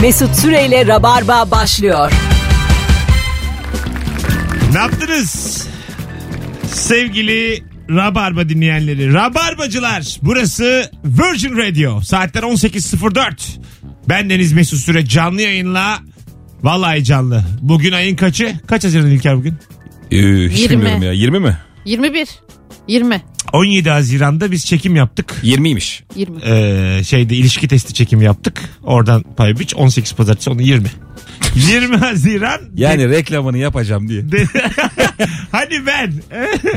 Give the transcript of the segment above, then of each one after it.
Mesut Süreyle Rabarba başlıyor. Ne yaptınız? Sevgili Rabarba dinleyenleri. Rabarbacılar burası Virgin Radio. Saatler 18.04. Ben Deniz Mesut Süre canlı yayınla. Vallahi canlı. Bugün ayın kaçı? Kaç Haziran İlker bugün? Ee, hiç 20. bilmiyorum ya. 20 mi? 21. 20. 17 Haziran'da biz çekim yaptık. 20'ymiş. 20. Ee, şeyde ilişki testi çekimi yaptık. Oradan pay biç 18 pazartesi onu 20. 20 Haziran. Yani reklamını yapacağım diye. Hani ben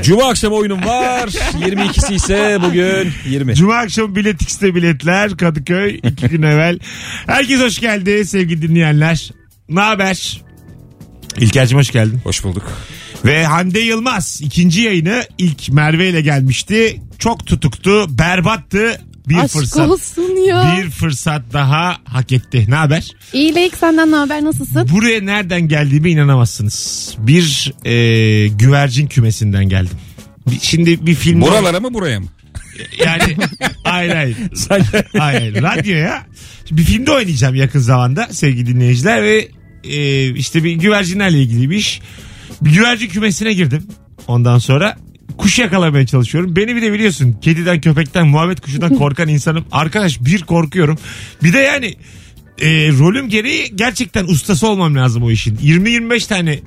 Cuma akşamı oyunum var. 22'si ise bugün 20. Cuma akşamı bilet X'te biletler Kadıköy iki gün evvel. Herkes hoş geldi sevgili dinleyenler. Ne haber? İlker'cim hoş geldin. Hoş bulduk. Ve Hande Yılmaz ikinci yayını ilk Merve ile gelmişti. Çok tutuktu, berbattı. Bir Aşk fırsat. olsun ya. Bir fırsat daha hak etti. Ne haber? İyilik senden ne haber nasılsın? Buraya nereden geldiğime inanamazsınız. Bir e, güvercin kümesinden geldim. Bir- Şimdi bir film... Buralara mı buraya mı? Yani hayır hayır. hayır radyo ya. Şimdi bir filmde oynayacağım yakın zamanda sevgili dinleyiciler ve e, işte bir güvercinlerle ilgili bir iş. Bir güvercin kümesine girdim. Ondan sonra kuş yakalamaya çalışıyorum. Beni bir de biliyorsun kediden köpekten muhabbet kuşundan korkan insanım. Arkadaş bir korkuyorum. Bir de yani e, rolüm gereği gerçekten ustası olmam lazım o işin. 20-25 tane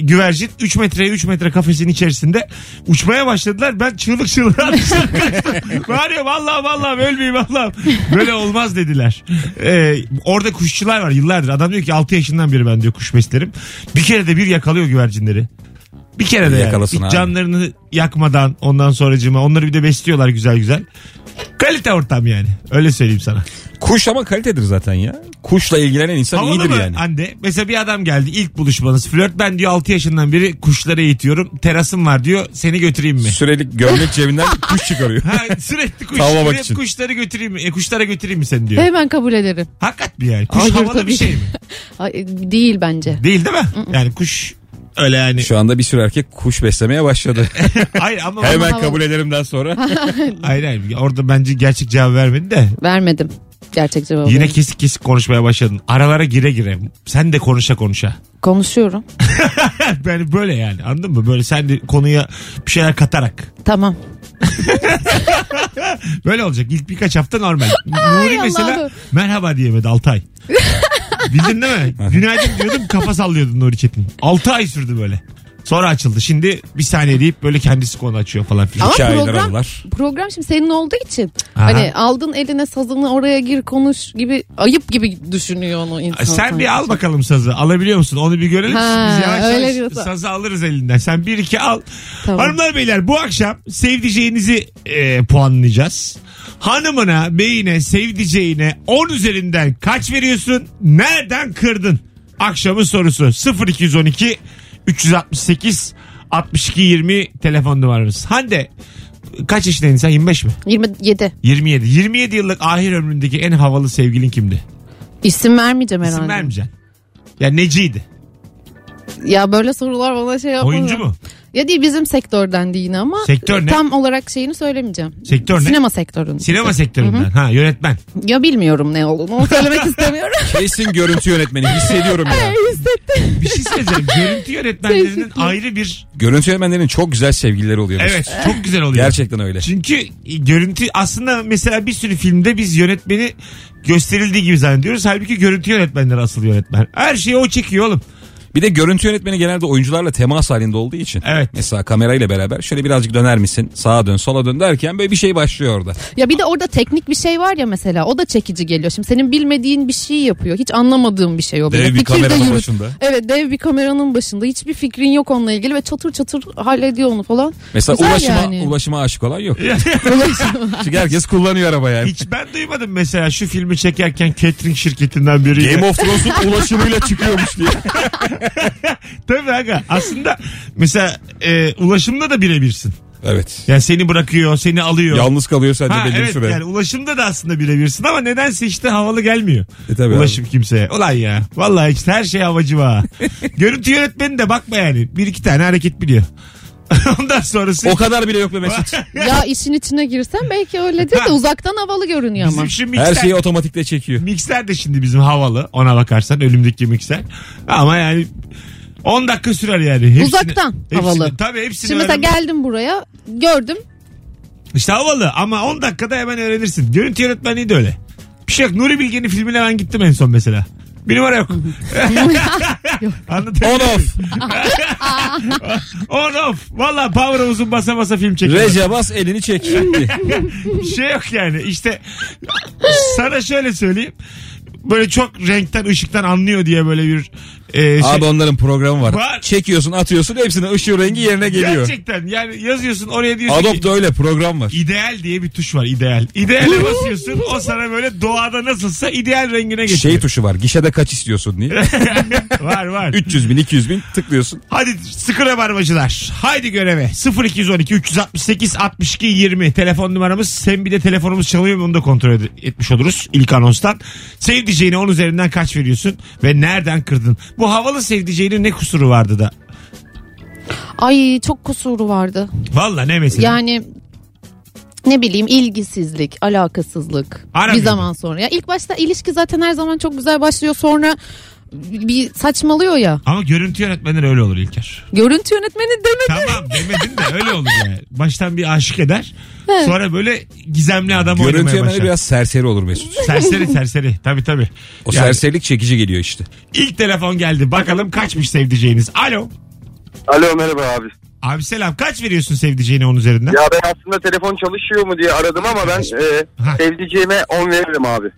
güvercin 3 metreye 3 metre kafesin içerisinde uçmaya başladılar. Ben çığlık çığlık atmıştım. kaçtım. Bağırıyor vallahi vallahi ölmeyeyim vallahi. Böyle olmaz dediler. E, orada kuşçular var yıllardır. Adam diyor ki 6 yaşından beri ben diyor kuş beslerim. Bir kere de bir yakalıyor güvercinleri. Bir kere de yani. Yakalasın Hiç abi. canlarını yakmadan ondan sonracığıma onları bir de besliyorlar güzel güzel. Kalite ortam yani. Öyle söyleyeyim sana. Kuş ama kalitedir zaten ya. Kuşla ilgilenen insan Havalı iyidir mı yani. anne? Mesela bir adam geldi ilk buluşmanız flört. Ben diyor 6 yaşından beri kuşları eğitiyorum. Terasım var diyor. Seni götüreyim mi? Sürekli gömlek cebinden kuş çıkarıyor. Ha, sürekli kuş, Tavlamak hep için. kuşları götüreyim mi? E, kuşlara götüreyim mi seni diyor. Hemen kabul ederim. Hakikat mi yani? Kuş Hayır, havalı bir tabii. şey mi? Ay, Değil bence. Değil değil mi? Yani kuş öyle yani. Şu anda bir sürü erkek kuş beslemeye başladı. hayır ama Hemen havalı. kabul ederimden sonra. hayır, hayır. Orada bence gerçek cevap vermedin de. Vermedim. Gerçek cevabı. Yine kesik kesik konuşmaya başladın. Aralara gire gire. Sen de konuşa konuşa. Konuşuyorum. Yani böyle yani anladın mı? Böyle sen de konuya bir şeyler katarak. Tamam. Böyle olacak. İlk birkaç hafta normal. Nuri Allah'ım. mesela merhaba diyemedi 6 ay. Bildin değil mi? Günaydın diyordum kafa sallıyordun Nuri Çetin. 6 ay sürdü böyle. Sonra açıldı. Şimdi bir saniye deyip böyle kendisi konu açıyor falan filan. Ama İki aydır program- aralar. Program şimdi senin olduğu için. Aha. Hani aldın eline sazını oraya gir konuş gibi ayıp gibi düşünüyor onu insan. Sen sanki. bir al bakalım sazı. Alabiliyor musun? Onu bir görelim. Ha, Biz yavaş öyle yavaş diyorsun. sazı alırız elinden. Sen bir iki al. Tamam. Hanımlar beyler bu akşam sevdiceğinizi e, puanlayacağız. Hanımına, beyine, sevdiceğine 10 üzerinden kaç veriyorsun? Nereden kırdın? Akşamın sorusu 0212 368 62 20 telefon numaramız. Hande kaç yaşındaydın sen 25 mi? 27. 27. 27 yıllık ahir ömründeki en havalı sevgilin kimdi? İsim vermeyeceğim herhalde. İsim vermeyeceksin. Ya neciydi? Ya böyle sorular bana şey yapmadı. Oyuncu mu? Ya değil bizim sektörden değil yine ama. Sektör ne? Tam olarak şeyini söylemeyeceğim. Sektör ne? Sinema sektöründe. Sinema sektöründen. Ha yönetmen. Ya bilmiyorum ne olduğunu onu söylemek istemiyorum. Kesin görüntü yönetmeni hissediyorum ya. Bir şey söyleyeceğim. Görüntü yönetmenlerinin ayrı bir... Görüntü yönetmenlerinin çok güzel sevgilileri oluyor. Mesut. Evet çok güzel oluyor. Gerçekten öyle. Çünkü görüntü aslında mesela bir sürü filmde biz yönetmeni gösterildiği gibi zannediyoruz. Halbuki görüntü yönetmenleri asıl yönetmen. Her şeyi o çekiyor oğlum. Bir de görüntü yönetmeni genelde oyuncularla temas halinde olduğu için. Evet. Mesela kamerayla beraber şöyle birazcık döner misin? Sağa dön, sola dön derken böyle bir şey başlıyor orada. ya bir de orada teknik bir şey var ya mesela o da çekici geliyor. Şimdi senin bilmediğin bir şey yapıyor. Hiç anlamadığın bir şey o. böyle. Dev bir Fikir de kameranın yürüt- başında. Evet dev bir kameranın başında. Hiçbir fikrin yok onunla ilgili ve çatır çatır hallediyor onu falan. Mesela Güzel ulaşıma, yani. ulaşıma aşık olan yok. Çünkü herkes kullanıyor araba yani. Hiç ben duymadım mesela şu filmi çekerken catering şirketinden biri. Game of Thrones'un ulaşımıyla çıkıyormuş diye. Tabii aga. Aslında mesela e, ulaşımda da birebirsin. Evet. Yani seni bırakıyor, seni alıyor. Yalnız kalıyor sadece Ha, belli bir evet süre. yani ulaşımda da aslında birebirsin ama nedense işte havalı gelmiyor. E tabii Ulaşım kimseye. Ulan ya. Vallahi işte her şey havacı var. Görüntü yönetmeni de bakma yani. Bir iki tane hareket biliyor. Ondan sonrası O kadar bile yok be Mesut. ya işin içine girsen belki öyledir de uzaktan havalı görünüyor ama. bizim şu mikser, Her şey şeyi otomatikle çekiyor. mikser de şimdi bizim havalı ona bakarsan ölümdeki mikser. Ama yani 10 dakika sürer yani. Hepsini- Uzaktan hepsini- havalı. Tabii hepsini Şimdi mesela öğren- geldim buraya gördüm. İşte havalı ama 10 dakikada hemen öğrenirsin. Görüntü yönetmenliği de öyle. Bir şey yok. Nuri Bilge'nin filmine ben gittim en son mesela. Bir numara yok. Anlatabiliyor On muyum? off. On off. Valla power uzun basa basa film çekiyor. Reca bas elini çek. şey yok yani işte sana şöyle söyleyeyim. Böyle çok renkten ışıktan anlıyor diye böyle bir e, şey. Abi onların programı var. Var. Çekiyorsun atıyorsun hepsinin ışığı rengi yerine geliyor. Gerçekten yani yazıyorsun oraya diyorsun ki Adopt öyle program var. ideal diye bir tuş var ideal. İdeale basıyorsun o sana böyle doğada nasılsa ideal rengine getiriyor. Şey tuşu var gişede kaç istiyorsun diye. var var. 300 bin 200 bin tıklıyorsun. Hadi sıkı rabarbacılar. Haydi göreve. 0212 368 62 20 telefon numaramız. Hem bir de telefonumuz çalıyor mu onu da kontrol ed- etmiş oluruz ilk anonstan. Sevdiceğine 10 üzerinden kaç veriyorsun ve nereden kırdın? Bu havalı sevdiceğinin ne kusuru vardı da? Ay çok kusuru vardı. Valla ne mesela? Yani ne bileyim ilgisizlik, alakasızlık Aramıyordun. bir zaman sonra. Ya ilk başta ilişki zaten her zaman çok güzel başlıyor sonra bir saçmalıyor ya. Ama görüntü yönetmenleri öyle olur İlker. Görüntü yönetmeni demedi. Tamam demedin de öyle olur yani. Baştan bir aşık eder. Sonra böyle gizemli adam Görüntü oynamaya yönetmeni başlar. biraz serseri olur Mesut. Serseri serseri. Tabii tabii. O Yani serserilik çekici geliyor işte. ilk telefon geldi. Bakalım kaçmış sevdiceğiniz. Alo. Alo merhaba abi. Abi selam kaç veriyorsun sevdiceğine onun üzerinden? Ya ben aslında telefon çalışıyor mu diye aradım ama ben e, Ha. sevdiceğime 10 veririm abi.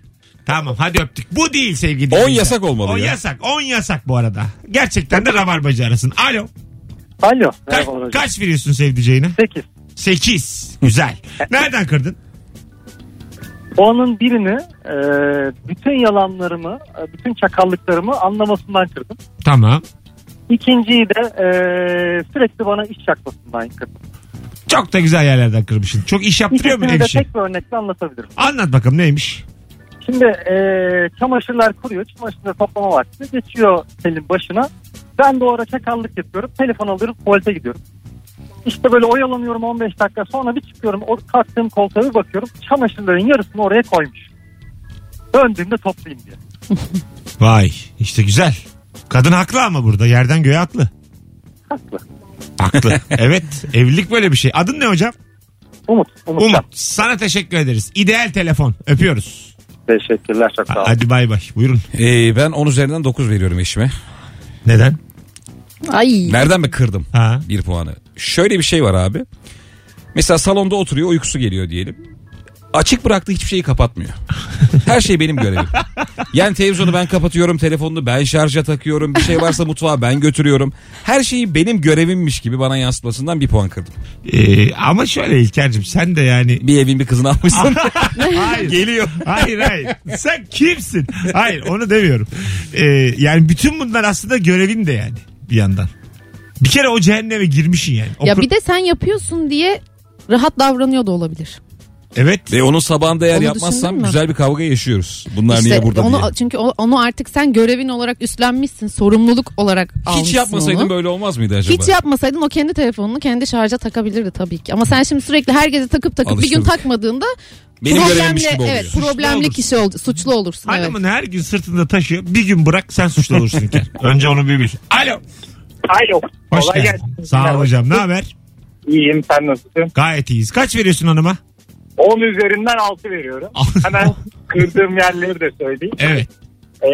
Tamam hadi öptük. Bu değil sevgili. On dinleyiciler. yasak olmalı on ya. yasak. 10 yasak bu arada. Gerçekten de rabarbacı arasın. Alo. Alo. Ka- Merhaba hocam. kaç veriyorsun sevdiceğine? 8. 8. Güzel. Nereden kırdın? Onun birini e, bütün yalanlarımı, e, bütün çakallıklarımı anlamasından kırdım. Tamam. İkinciyi de e, sürekli bana iş çakmasından kırdım. Çok da güzel yerlerden kırmışsın. Çok iş yaptırıyor mu İkisini de ev işi? tek bir örnekle anlatabilirim. Anlat bakalım neymiş? Şimdi e, çamaşırlar kuruyor. Çamaşırları toplama vakti. Geçiyor Selin başına. Ben de o ara çakallık yapıyorum. Telefon alıyorum. Tuvalete gidiyorum. İşte böyle oyalanıyorum 15 dakika. Sonra bir çıkıyorum. O kalktığım koltuğa bir bakıyorum. Çamaşırların yarısını oraya koymuş. Döndüğümde toplayayım diye. Vay işte güzel. Kadın haklı ama burada yerden göğe haklı. Haklı. Haklı. evet evlilik böyle bir şey. Adın ne hocam? Umut. Umut. Umut sana teşekkür ederiz. İdeal telefon öpüyoruz. Teşekkürler. Çok sağ olun. Hadi bay bay buyurun. Ee, ben 10 üzerinden 9 veriyorum eşime. Neden? Ay. Nereden mi kırdım? Ha. bir puanı. Şöyle bir şey var abi. Mesela salonda oturuyor uykusu geliyor diyelim. Açık bıraktığı hiçbir şeyi kapatmıyor. Her şey benim görevim. Yani televizyonu ben kapatıyorum, telefonunu ben şarja takıyorum, bir şey varsa mutfağa ben götürüyorum. Her şeyi benim görevimmiş gibi bana yansıtmasından bir puan kırdım. Ee, ama şöyle İlker'cim sen de yani Bir evin bir kızını almışsın. hayır. Geliyor. Hayır hayır. Sen kimsin? Hayır onu demiyorum. Ee, yani bütün bunlar aslında görevin de yani bir yandan. Bir kere o cehenneme girmişsin yani. O Ya kur- bir de sen yapıyorsun diye rahat davranıyor da olabilir. Evet. Ve onun sabahında eğer Onu yapmazsam düşündün mü? güzel bir kavga yaşıyoruz. Bunlar İşte niye burada onu, diye. Çünkü o- onu artık sen görevin olarak üstlenmişsin. Sorumluluk olarak almışsın Hiç yapmasaydım onu. böyle olmaz mıydı acaba? Hiç yapmasaydın o kendi telefonunu kendi şarja takabilirdi tabii ki. Ama sen şimdi sürekli herkese takıp takıp bir gün Alıştırdık. takmadığında Benim görevimmiş problemli, gibi oluyor. evet, Suçlu problemli olursun. kişi ol, suçlu olursun. Evet. Adamın her gün sırtında taşıyor. Bir gün bırak sen suçlu olursun İlker. Önce onu bir bil. Alo. Alo. Hoş Kolay geldin. gelsin. Sağ ol hocam. Ne haber? İyiyim sen nasılsın? Gayet iyiyiz. Kaç veriyorsun hanıma? 10 üzerinden 6 veriyorum. Hemen kırdığım yerleri de söyleyeyim. Evet. Ee,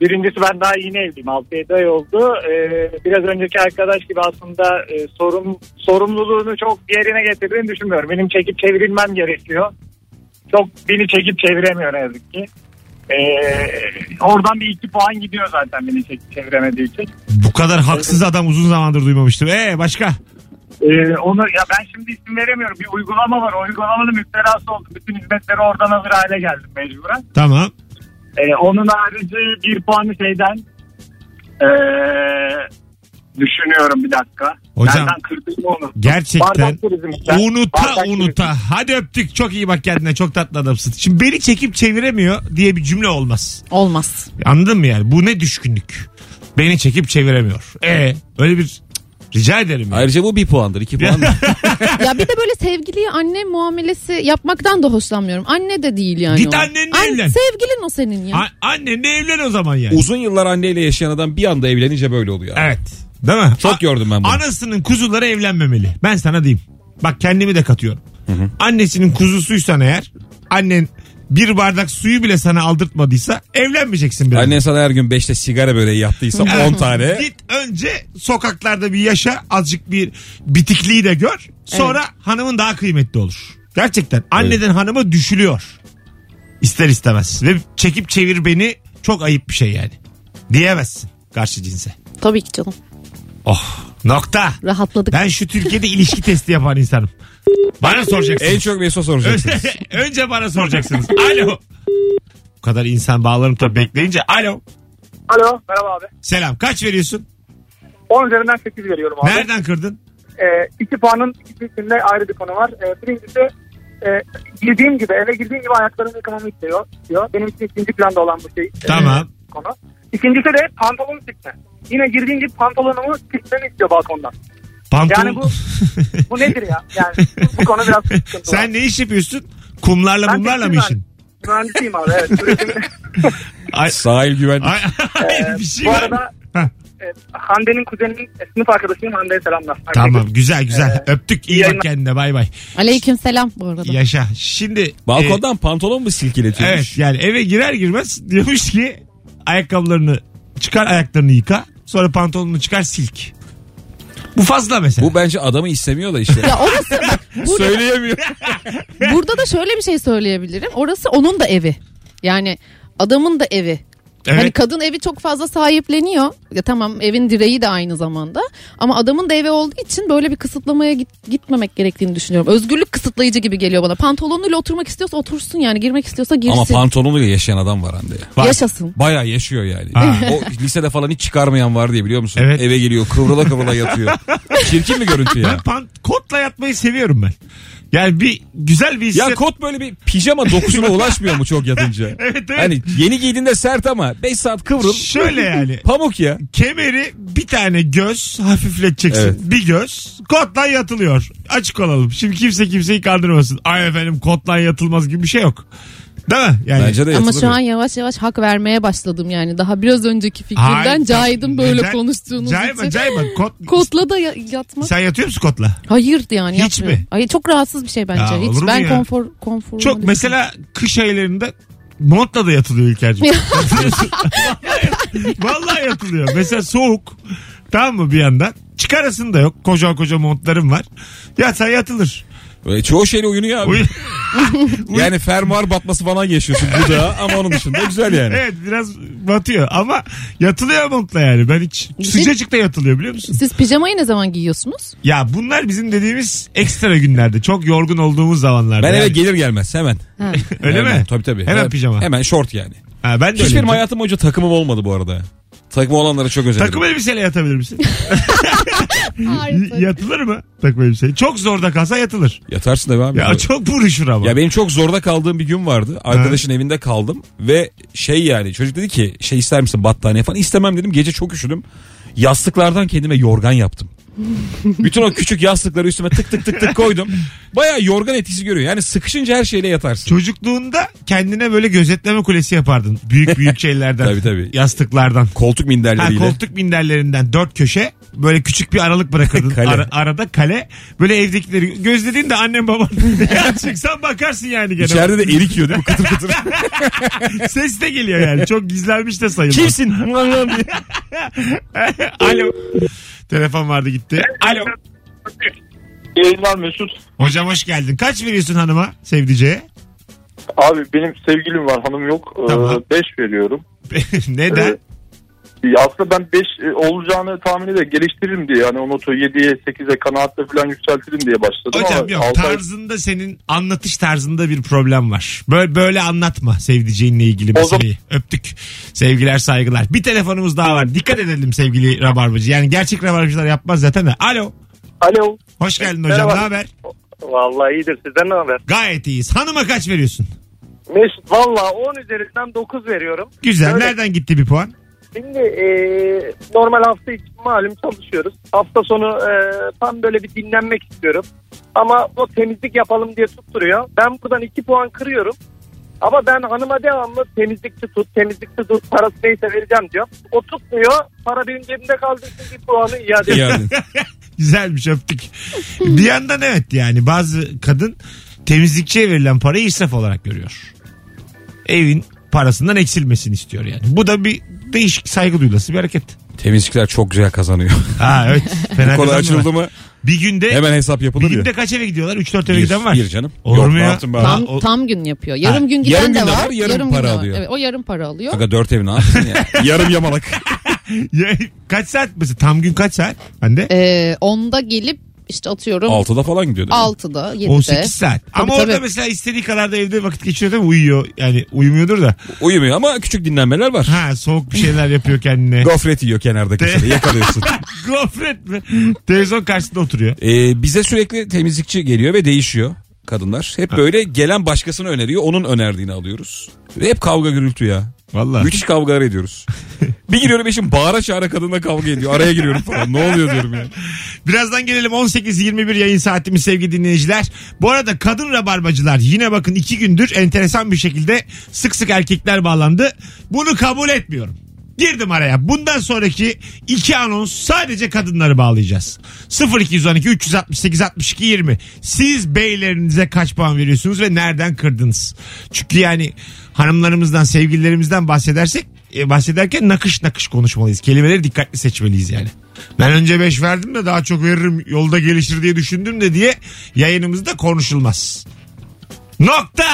birincisi ben daha yeni evliyim. 6-7 ay oldu. Ee, biraz önceki arkadaş gibi aslında e, sorum, sorumluluğunu çok yerine getirdiğini düşünmüyorum. Benim çekip çevrilmem gerekiyor. Çok beni çekip çeviremiyor ne yazık ki. Ee, oradan bir iki puan gidiyor zaten beni çekip çeviremediği için. Bu kadar haksız adam uzun zamandır duymamıştım. Ee başka? Ee, onu ya ben şimdi isim veremiyorum. Bir uygulama var. O uygulamanın müptelası oldum. Bütün hizmetleri oradan alır hale geldim mecburen. Tamam. Ee, onun harici bir puanı şeyden ee, düşünüyorum bir dakika. Hocam, Nereden kırdığımı onu. Gerçekten Bardak turizmden. unuta Bardak unuta. Hadi öptük. Çok iyi bak kendine. Çok tatlı adamsın. Şimdi beni çekip çeviremiyor diye bir cümle olmaz. Olmaz. Anladın mı yani? Bu ne düşkünlük? Beni çekip çeviremiyor. Ee E, öyle bir Rica ederim. yani. Ayrıca bu bir puandır. iki puan da- ya bir de böyle sevgiliye anne muamelesi yapmaktan da hoşlanmıyorum. Anne de değil yani. Git o. annenle An- evlen. Sevgilin o senin ya. A- annenle evlen o zaman yani. Uzun yıllar anneyle yaşayan adam bir anda evlenince böyle oluyor. Evet. Değil mi? Çok gördüm ben bunu. Anasının kuzuları evlenmemeli. Ben sana diyeyim. Bak kendimi de katıyorum. Annesinin kuzusuysan eğer annen bir bardak suyu bile sana aldırtmadıysa evlenmeyeceksin biraz. Annen sana her gün 5'te sigara böreği yaptıysa Evet. 10 tane. Git önce sokaklarda bir yaşa azıcık bir bitikliği de gör. Sonra hanımın daha kıymetli olur. Gerçekten anneden hanımı düşülüyor. İster istemez. Ve çekip çevir beni çok ayıp bir şey yani. Diyemezsin karşı cinse. Tabii ki canım. Oh nokta. Rahatladık. Ben şu Türkiye'de ilişki testi yapan insanım. Bana En soracaksınız. çok Mesut'a soracaksınız. Önce bana soracaksınız. Alo. Bu kadar insan bağlanıp da bekleyince. Alo. Alo merhaba abi. Selam. Kaç veriyorsun? 10 üzerinden 8 veriyorum abi. Nereden kırdın? Ee, iki puanın ikisinde ayrı bir konu var. Ee, birincisi e, girdiğim gibi eve girdiğim gibi ayaklarımı yıkamamı istiyor. Diyor. Benim için ikinci planda olan bu şey. e, Tamam. konu. İkincisi de pantolon sikme. Yine girdiğim gibi pantolonumu sikmemi istiyor balkondan. Pantolon. Yani bu- Bu nedir ya? Yani bu, bu konu biraz sıkıntı var. Sen ne iş yapıyorsun? Kumlarla Ben şey mumlarla mı tekstil işin? Mühendisiyim abi evet. Ay, Sahil güvenlik. ay, ay, bir şey Ee, bu var. arada Heh, e, Hande'nin kuzeninin e, sınıf arkadaşının Hande'ye selamlar. tamam güzel Ee, güzel. Öptük. iyi bak yayınlar. kendine bay bay. Aleyküm selam bu arada. Yaşa. Şimdi. e, Balkondan pantolon mu Evet silkeletiyormuş? yani eve girer girmez diyormuş ki ayakkabılarını çıkar ayaklarını yıka sonra pantolonunu çıkar silk. Bu fazla mesela. Bu bence adamı istemiyor da işte. Ya orası bak, burada, Söyleyemiyor. burada da şöyle bir şey söyleyebilirim. Orası onun da evi. Yani adamın da evi. evet. Hani kadın evi çok fazla sahipleniyor. Ya tamam evin direği de aynı zamanda. Ama adamın da evi olduğu için böyle bir kısıtlamaya git- gitmemek gerektiğini düşünüyorum. Özgürlük kısıtlayıcı gibi geliyor bana. Pantolonuyla oturmak istiyorsa otursun yani. Girmek istiyorsa Ama girsin. pantolonuyla yaşayan adam var Hande. Var. Yaşasın. Bayağı yaşıyor yani. Ha. O lisede falan hiç çıkarmayan var diye biliyor musun? Evet. Eve geliyor kıvrıla kıvrıla yatıyor. Çirkin mi görüntü Ben ya? pant kotla yatmayı seviyorum ben. Yani bir güzel bir Ya hisset. kot böyle bir pijama dokusuna ulaşmıyor mu çok yatınca? evet evet. Hani yeni giydiğinde sert ama 5 saat kıvrıl. Şöyle yani. Pamuk ya. Kemeri bir tane göz hafifleteceksin. Evet. Bir göz. Kotla yatılıyor. Açık olalım. Şimdi kimse kimseyi kandırmasın. Ay efendim kotla yatılmaz gibi bir şey yok. Değil mi? Yani Bence de Ama yatılır. şu an yavaş yavaş hak vermeye başladım yani. Daha biraz önceki Hayır, fikirden caydım böyle neden? konuştuğunuz Cayma için. cayma. Kot, Kotla da ya- yatmak. Sen yatıyor musun kotla? Hayır yani Hiç yapmıyorum. mi? Ay çok rahatsız bir şey bence. Ya, olur mu Hiç ben ya? konfor konfor. Çok mesela kış aylarında montla da yatılıyor İlker'cim. Yatılıyorsun. Vallahi- Vallahi yatılıyor. Mesela soğuk. Tamam mı bir yandan? Çıkarasın da yok. Koca koca montlarım var. Yatsa yatılır. Böyle çoğu şeyle oynuyor abi. Uy- Yani fermuar batması falan yaşıyorsun bu da ama onun dışında güzel yani. evet biraz batıyor ama yatılıyor montla yani. Ben hiç Bir şey- sıcacıkta yatılıyor biliyor musun? Siz pijamayı ne zaman giyiyorsunuz? Ya bunlar bizim dediğimiz ekstra günlerde. Çok yorgun olduğumuz zamanlarda. Ben eve yani. gelir gelmez hemen. Ha. Öyle Hemen, mi? Tabii tabii. Hemen pijama. Hemen şort yani. Ha, ben de Hiç öyle. benim hayatım boyunca takımım olmadı bu arada. Takım olanlara çok özendim. Takım elbiseyle yatabilir misin? Harika. yatılır mı takım elbiseyle? Çok zorda kalsa yatılır. Yatarsın da abi. Ya çok buruşur ama. Ya benim çok zorda kaldığım bir gün vardı. Arkadaşın evinde kaldım ve şey yani çocuk dedi ki şey ister misin battaniye falan istemem dedim. Gece çok üşüdüm. Yastıklardan kendime yorgan yaptım. Bütün o küçük yastıkları üstüme tık tık tık tık koydum. Baya yorgan etkisi görüyor. Yani sıkışınca her şeyle yatarsın. Çocukluğunda kendine böyle gözetleme kulesi yapardın. Büyük büyük şeylerden. Tabii, tabii. Yastıklardan. Koltuk Ha, minderleriyle. koltuk minderlerinden dört köşe böyle küçük bir aralık bırakırdın. Kale. Ara- arada kale. Böyle evdekileri gözlediğin de annem baban. Ya Çıksan bakarsın yani gene. İçeride de erik yiyor değil mi? Kıtır kıtır. Ses de geliyor yani. Çok gizlenmiş de sayılmaz. Kimsin? Lan lan diye. Alo. Telefon vardı gitti. Alo. Yayınlar Mesut. Hocam hoş geldin. Kaç veriyorsun hanıma sevdiceğe? Abi benim sevgilim var hanım yok. 5 Tamam. veriyorum. Neden? Ee, aslında ben 5 olacağını tahmin de geliştiririm diye. Yani onu 7'ye 8'e kanaatle falan yükseltirim diye başladım. Hocam ama yok altı ay- tarzında senin anlatış tarzında bir problem var. Böyle böyle anlatma sevdiceğinle ilgili O zaman- meseleyi. Öptük. Sevgiler saygılar. Bir telefonumuz daha var. Dikkat edelim sevgili rabarbacı. Yani gerçek rabarbacılar yapmaz zaten de. Alo. Alo. Hoş geldin hocam. Merhaba. Ne haber? Vallahi iyidir sizden ne haber? Gayet iyiyiz. Hanıma kaç veriyorsun? Mesut valla 10 üzerinden 9 veriyorum. Güzel. Öyle. Nereden gitti bir puan? Şimdi e, normal hafta için malum çalışıyoruz. Hafta sonu e, tam böyle bir dinlenmek istiyorum. Ama o temizlik yapalım diye tutturuyor. Ben buradan iki puan kırıyorum. Ama ben hanıma devamlı temizlikçi tut, temizlikçi tut, parası neyse vereceğim diyor. O tutmuyor, para benim cebimde kaldığı için bir puanı iade ediyor. Yani. Güzelmiş öptük. bir yandan evet yani bazı kadın temizlikçiye verilen parayı israf olarak görüyor. Evin parasından eksilmesini istiyor yani. Bu da bir değişik saygı duyulası bir hareket. Temizlikler çok güzel kazanıyor. Ha evet. Fena Bu konu kazanmıyorlar. açıldı mı Bir günde hemen hesap bir yapılır ya. günde kaç eve gidiyorlar? 3-4 eve Bir, giden var. bir canım. Olur Yok, mu ne ya? yaptın bana? Tam, o- tam gün yapıyor. Yarım gün giden yarım de gün de var. var, yarım gün para de var. alıyor. Evet, o yarım para alıyor. Aga dört ev ne yapsın ya? Yarım yamalak. Ya, kaç saat mesela? Tam gün kaç saat? Hande? Ee, onda gelip işte atıyorum Altıda falan gidiyor. değil mi? 6'da 7'de. 18 saat. Ama tabii. orada mesela istediği kadar da evde vakit geçiriyor değil mi? Uyuyor. Yani uyumuyordur da. Uyumuyor ama küçük dinlenmeler var. Ha soğuk bir şeyler yapıyor kendine. Gofret yiyor kenarda köşede yakalıyorsun. Gofret mi? Televizyon karşısında oturuyor. Ee, bize sürekli temizlikçi geliyor ve değişiyor kadınlar. Hep böyle gelen başkasını öneriyor onun önerdiğini alıyoruz. Ve hep kavga gürültü ya. Vallahi. Müthiş kavgalar ediyoruz. bir giriyorum eşim bağıra çağıra kadınla kavga ediyor. Araya giriyorum falan. Ne oluyor diyorum ya. Birazdan gelelim 18-21 yayın saatimiz sevgili dinleyiciler. Bu arada kadın rabarbacılar yine bakın iki gündür enteresan bir şekilde sık sık erkekler bağlandı. Bunu kabul etmiyorum. Girdim araya. Bundan sonraki iki anons sadece kadınları bağlayacağız. 0212 368 62 20. Siz beylerinize kaç puan veriyorsunuz ve nereden kırdınız? Çünkü yani hanımlarımızdan, sevgililerimizden bahsedersek e, bahsederken nakış nakış konuşmalıyız. Kelimeleri dikkatli seçmeliyiz yani. Ben önce 5 verdim de daha çok veririm yolda gelişir diye düşündüm de diye yayınımızda konuşulmaz. Nokta!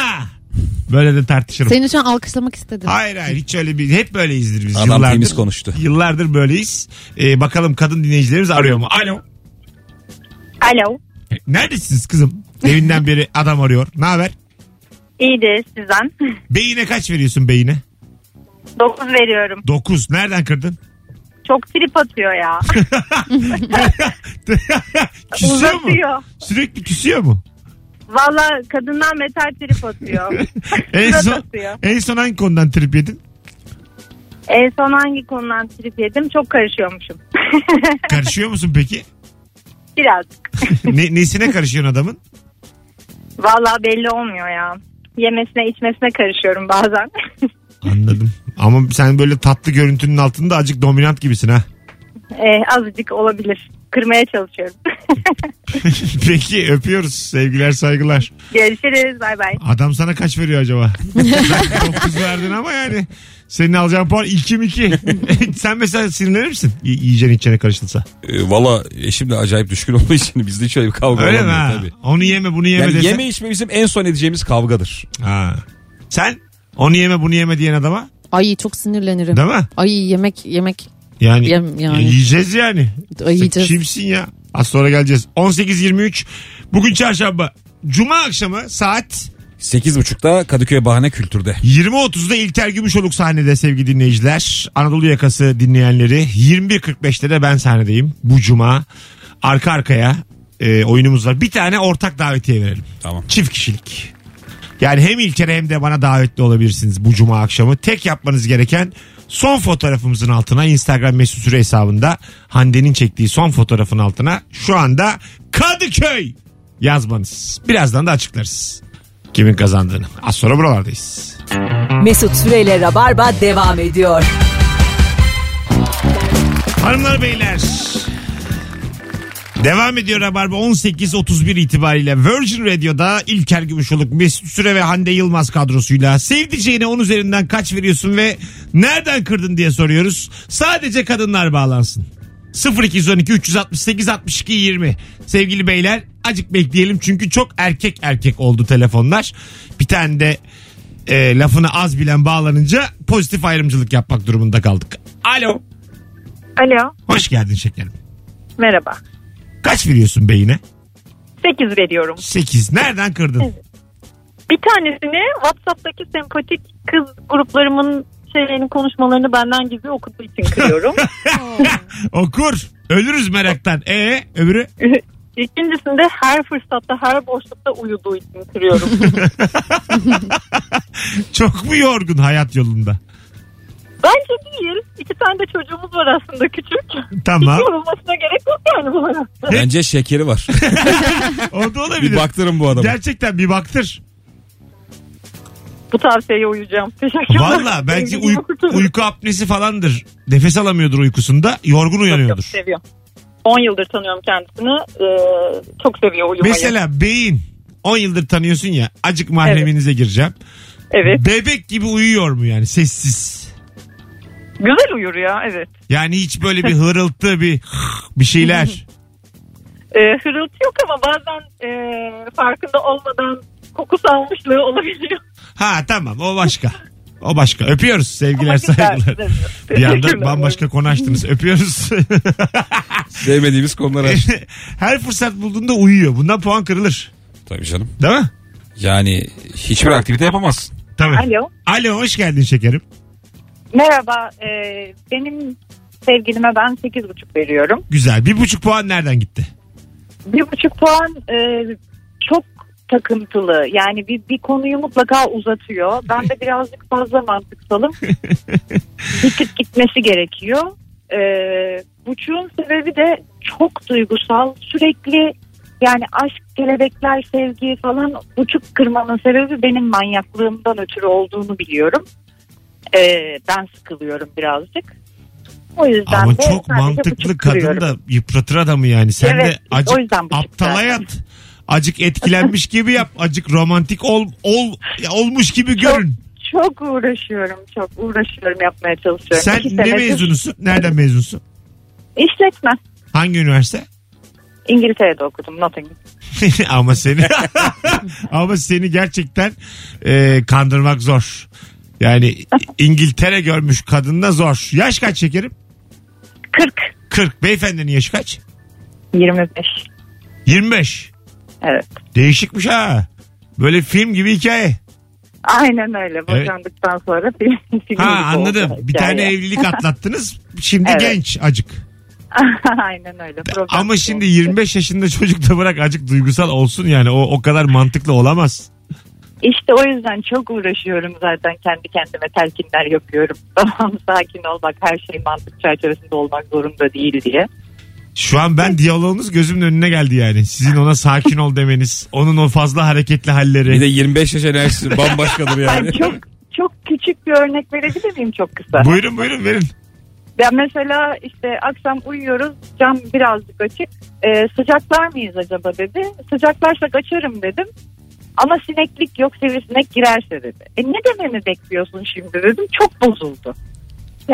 Böyle de tartışırım. Seni şu an alkışlamak istedim. Hayır hayır hiç öyle bir hep böyleyizdir biz. Adam temiz konuştu. Yıllardır böyleyiz. Ee, bakalım kadın dinleyicilerimiz arıyor mu? Alo. E, Alo. Neredesiniz kızım? Evinden beri adam arıyor. Ne haber? İyidir sizden. Beyine kaç veriyorsun beyine? 9 veriyorum. 9. Nereden kırdın? Çok trip atıyor ya. küsüyor mu? Uzatıyor. Sürekli küsüyor mu? Valla kadından metal trip atıyor. En Surat son, atıyor. en son hangi konudan trip yedin? En son hangi konudan trip yedim? Çok karışıyormuşum. Karışıyor musun peki? Biraz. Ne, nesine karışıyorsun adamın? Valla belli olmuyor ya. Yemesine içmesine karışıyorum bazen. Anladım. Ama sen böyle tatlı görüntünün altında acık dominant gibisin ha. Ee, azıcık olabilir. Kırmaya çalışıyorum. Peki öpüyoruz. Sevgiler saygılar. Görüşürüz. Bay bay. Adam sana kaç veriyor acaba? Sen 9 verdin ama yani. Senin alacağın puan 2 mi 2? Sen mesela sinirlenir misin? Y- yiyeceğin içene karışılsa. Ee, Valla eşim de acayip düşkün olduğu için bizde hiç öyle bir kavga Öyle mi olamıyor ha? tabii. Onu yeme bunu yeme Yani desen. yeme içme bizim en son edeceğimiz kavgadır. Ha. Sen onu yeme bunu yeme diyen adama Ay çok sinirlenirim. değil mi? Ay yemek yemek Yani, Yem- yani. yiyeceğiz yani. Ay, yiyeceğiz. Sen kimsin ya? Az sonra geleceğiz. 18.23 bugün çarşamba. Cuma akşamı saat 8.30'da Kadıköy Bahane Kültür'de. 20.30'da İlker Gümüşoluk sahnede sevgili dinleyiciler. Anadolu yakası dinleyenleri 21.45'te de ben sahnedeyim. Bu cuma arka arkaya e, oyunumuz var. Bir tane ortak davetiye verelim. Tamam. Çift kişilik. Yani hem İlker'e hem de bana davetli olabilirsiniz bu cuma akşamı. Tek yapmanız gereken son fotoğrafımızın altına Instagram mesut süre hesabında Hande'nin çektiği son fotoğrafın altına şu anda Kadıköy yazmanız. Birazdan da açıklarız kimin kazandığını. Az sonra buralardayız. Mesut Süreyle Rabarba devam ediyor. Hanımlar beyler. Devam ediyor Rabarba 18.31 itibariyle Virgin Radio'da İlker Gümüşoluk, Mesut Süre ve Hande Yılmaz kadrosuyla sevdiceğine 10 üzerinden kaç veriyorsun ve nereden kırdın diye soruyoruz. Sadece kadınlar bağlansın. 0212 368 62 20 Sevgili beyler acık bekleyelim çünkü çok erkek erkek oldu telefonlar. Bir tane de e, lafını az bilen bağlanınca pozitif ayrımcılık yapmak durumunda kaldık. Alo. Alo. Hoş geldin şekerim. Merhaba. Kaç veriyorsun beyine? 8 veriyorum. 8. Nereden kırdın? Bir tanesini WhatsApp'taki sempatik kız gruplarımın şeylerin konuşmalarını benden gizli okuduğu için kırıyorum. Okur. Ölürüz meraktan. E öbürü? İkincisinde her fırsatta, her boşlukta uyuduğu için kırıyorum. Çok mu yorgun hayat yolunda? Bence değil. İki tane tane de çocuğumuz var aslında küçük. Tamam. Hiç yorulmasına gerek yok yani bu arada. Bence şekeri var. O da olabilir. bir baktırın bu adama. Gerçekten bir baktır. Bu tavsiyeye uyacağım. Teşekkürler. Valla bence Sevgilim uy- okutuyorum. uyku apnesi falandır. Nefes alamıyordur uykusunda. Yorgun Çok uyanıyordur. seviyor. 10 yıldır tanıyorum kendisini. Ee, çok seviyor uyumayı. Mesela beyin 10 yıldır tanıyorsun ya. Acık mahreminize gireceğim. Evet. Bebek gibi uyuyor mu yani sessiz? Güzel uyur ya evet. Yani hiç böyle bir hırıltı bir bir şeyler. Ee, hırıltı yok ama bazen ee, farkında olmadan koku salmışlığı olabiliyor. Ha tamam o başka. O başka. Öpüyoruz sevgiler Ama güzel, saygılar. güzel. Bir anda Teşekkürler. bambaşka konu açtınız. Öpüyoruz. Sevmediğimiz konular E- aç. Her fırsat bulduğunda uyuyor. Bundan puan kırılır. Tabii canım. Değil mi? Yani hiçbir aktivite yapamazsın. Tabii. Alo. Alo hoş geldin şekerim. Merhaba. Ee, benim sevgilime ben 8,5 veriyorum. Güzel. Bir buçuk puan nereden gitti? 1,5 puan e, çok takıntılı. Yani bir, bir konuyu mutlaka uzatıyor. Ben de birazcık fazla mantıksalım. bir tık gitmesi gerekiyor. Ee, buçuğun sebebi de çok duygusal. Sürekli yani aşk, kelebekler, sevgi falan buçuk kırmanın sebebi benim manyaklığımdan ötürü olduğunu biliyorum. Ee, ben sıkılıyorum birazcık. O yüzden Ama de çok sadece mantıklı buçuk kadın kırıyorum. da yıpratır adamı yani. Sen Evet, de acık o yüzden buçuk aptala zaten. yat. Acık etkilenmiş gibi yap. Acık romantik ol, ol olmuş gibi görün. Çok uğraşıyorum, çok uğraşıyorum yapmaya çalışıyorum. Sen İki ne senedir mezunusun? Nereden mezunsun? İşletme. Hangi üniversite? İngiltere'de okudum Nottingham. ama seni ama seni gerçekten e, kandırmak zor. Yani İngiltere görmüş kadınla zor. Yaş kaç şekerim? 40, 40. Beyefendinin yaşı kaç? 25. 25. Evet. Değişikmiş şey ha. Böyle film gibi hikaye. Aynen öyle. Boşandıktan sonra film, film Ha gibi oldu anladım. Bir hikaye. tane evlilik atlattınız. Şimdi Evet. genç acık. Aynen öyle. Problem Ama yok. şimdi 25 yaşında çocuk da bırak acık duygusal olsun yani. O o kadar mantıklı olamaz. İşte o yüzden çok uğraşıyorum zaten. Kendi kendime telkinler yapıyorum. Tamam sakin ol bak her şey mantık çerçevesinde olmak zorunda değil diye. Şu an ben diyaloğunuz gözümün önüne geldi yani. Sizin ona sakin ol demeniz. Onun o fazla hareketli halleri. Bir de 25 yaş enerjisi bambaşkadır yani. Ben çok çok küçük bir örnek verebilir miyim çok kısa? Buyurun buyurun verin. Ya mesela işte akşam uyuyoruz cam birazcık açık. Ee, sıcaklar mıyız acaba dedi. Sıcaklarsak açarım dedim. Ama sineklik yok sivrisinek girerse dedi. E ne dememi bekliyorsun şimdi dedim. Çok bozuldu.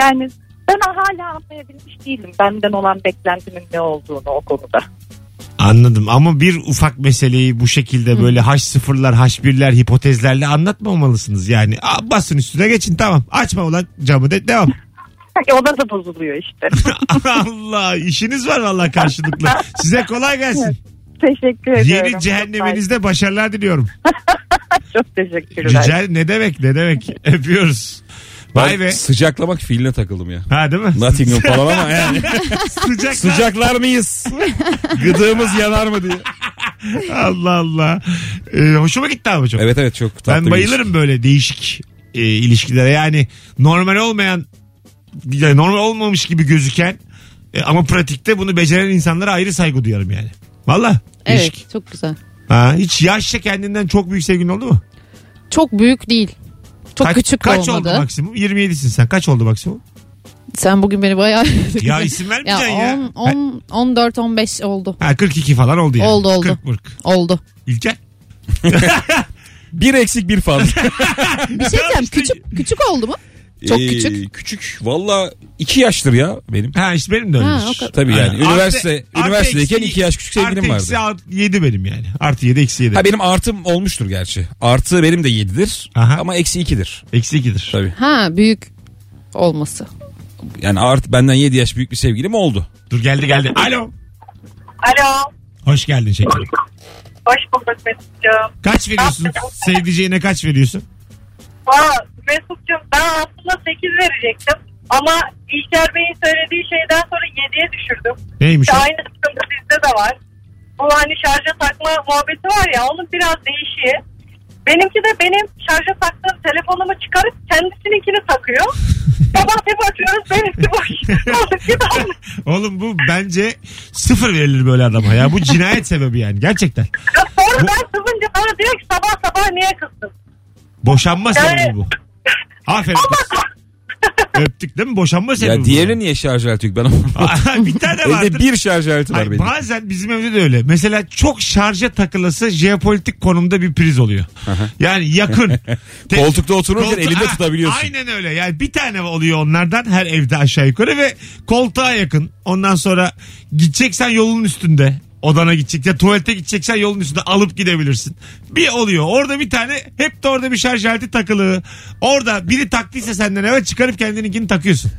Yani ben hala anlayabilmiş değilim benden olan beklentimin ne olduğunu o konuda. Anladım ama bir ufak meseleyi bu şekilde böyle haş sıfırlar haş birler hipotezlerle anlatmamalısınız yani. Aa, Basın üstüne geçin tamam açma ulan camı de devam. Hani o da da bozuluyor işte. Allah işiniz var vallahi karşılıklı. Size kolay gelsin. Teşekkür ediyorum. Yeni cehenneminizde başarılar diliyorum. Çok teşekkürler. Rica ne demek ne demek. Öpüyoruz. Vay Ben be. Sıcaklamak fiiline takıldım ya. Ha değil mi? Nottingham falan ama yani. Sıcak. Sıcaklar mıyız? Gıdığımız yanar mı diye. Allah Allah. Ee, hoşuma gitti abi çok. Evet evet çok tatlı ben bir bayılırım böyle değişik e, ilişkilere. Yani normal olmayan yani normal olmamış gibi gözüken e, ama pratikte bunu beceren insanlara ayrı saygı duyarım yani. Valla. Değişik. Evet çok güzel. Ha, hiç yaşça kendinden çok büyük sevgilin oldu mu? Çok büyük değil. Çok kaç, küçük de Kaç olmadı. oldu maksimum? 27'sin sen. Kaç oldu maksimum? Sen bugün beni bayağı... ya isim vermeyeceksin ya. ya, 10, 10, 14 15 oldu. Ha 42 falan oldu yani. Oldu, oldu. 40 40. Oldu. İlker. Bir eksik bir fazla. Bir şey diyeceğim. işte- Küçük küçük oldu mu? Çok Ee, küçük. Küçük. Valla iki yaştır ya benim. Ha işte benim de Ha, öyledir. o kadar. Tabii yani. Aynen. Üniversite, Artı- artı üniversiteyken eksi- iki yaş küçük sevgilim vardı. Artı eksi alt- yedi benim yani. Artı yedi eksi yedi. Ha benim artım olmuştur gerçi. Artı benim de 7'dir Aha. ama eksi 2'dir. Eksi ikidir. Tabii. Ha büyük olması. Yani art benden 7 yaş büyük bir sevgilim oldu. Dur geldi geldi. Alo. Alo. Hoş geldin şekerim. Hoş bulduk Mesut'cum. Kaç veriyorsun? Sevdiceğine kaç veriyorsun? Aa, Mesut'cum ben aslında 8 verecektim. Ama İlker Bey'in söylediği şeyden sonra 7'ye düşürdüm. Neymiş İşte o? aynı sıkıntı bizde de var. Bu hani şarja takma muhabbeti var ya onun biraz değişiği. Benimki de benim şarja taktığım telefonumu çıkarıp kendisininkini takıyor. Sabah bir bakıyoruz benimki boş. Oğlum bir daha Oğlum bu bence sıfır verilir böyle adama ya. Bu cinayet sebebi yani gerçekten. Ya Sonra ben kızınca bana diyor ki sabah sabah niye kızdın? Boşanma sebebi Yani- bu. Aferin kız. Öptük değil mi? Boşanma sebebi Ya bu. diğerini niye şarj aleti yok ben onu Aa, bir tane vardır. Evde bir şarj aleti var Ay, benim. bazen bizim evde de öyle. Mesela çok şarja takılası jeopolitik konumda bir priz oluyor. Yani yakın. Te- Koltukta otururken Koltuğu- elinde Ha, tutabiliyorsun. Aynen öyle. Yani bir tane oluyor onlardan her evde aşağı yukarı ve koltuğa yakın. Ondan sonra gideceksen yolun üstünde. Odana gidecek ya tuvalete gideceksen yolun üstünde alıp gidebilirsin. Bir oluyor. Orada bir tane hep de orada bir şarj aleti takılı. Orada biri taktıysa senden eve çıkarıp kendininkini takıyorsun.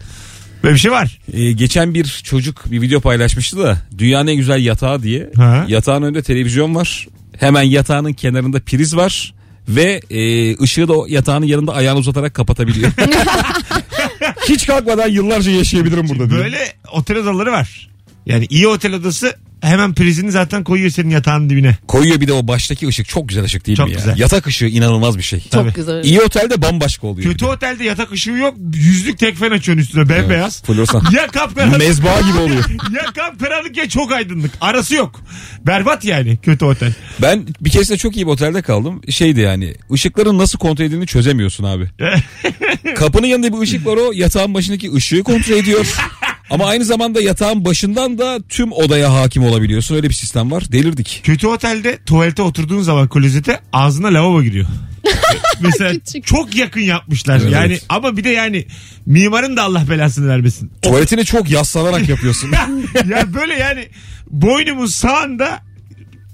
Böyle bir şey var. Ee, geçen bir çocuk bir video paylaşmıştı da dünyanın en güzel yatağı diye. Ha. Yatağın önünde televizyon var. Hemen yatağının kenarında priz var. Ve e, ışığı da o yatağının yanında ayağını uzatarak kapatabiliyor. Hiç kalkmadan yıllarca yaşayabilirim burada diyor. Böyle otel odaları var. Yani iyi otel odası hemen prizini zaten koyuyor senin yatağın dibine. Koyuyor bir de o baştaki ışık çok güzel ışık değil Çok mi ya? güzel. Yatak ışığı inanılmaz bir şey. Çok Tabii. güzel. İyi otelde bambaşka oluyor. Kötü otelde yatak ışığı yok. Yüzlük tekfen açıyorsun üstüne bembeyaz. Floresan. Ya kapkaranlık Mezba gibi oluyor. ya kapkaranlık ya çok aydınlık. Arası yok. Berbat yani kötü otel. Ben bir keresinde çok iyi bir otelde kaldım. Şeydi yani ışıkların nasıl kontrol edildiğini çözemiyorsun abi. Kapının yanında bir ışık var o yatağın başındaki ışığı kontrol ediyor. Ama aynı zamanda yatağın başından da tüm odaya hakim olabiliyorsun. Öyle bir sistem var. Delirdik. Kötü otelde tuvalete oturduğun zaman klozete ağzına lavabo giriyor. Mesela Küçük. çok yakın yapmışlar. Evet. Yani ama bir de yani mimarın da Allah belasını vermesin. Tuvaletini çok yaslanarak yapıyorsun. ya böyle yani boynumun sağında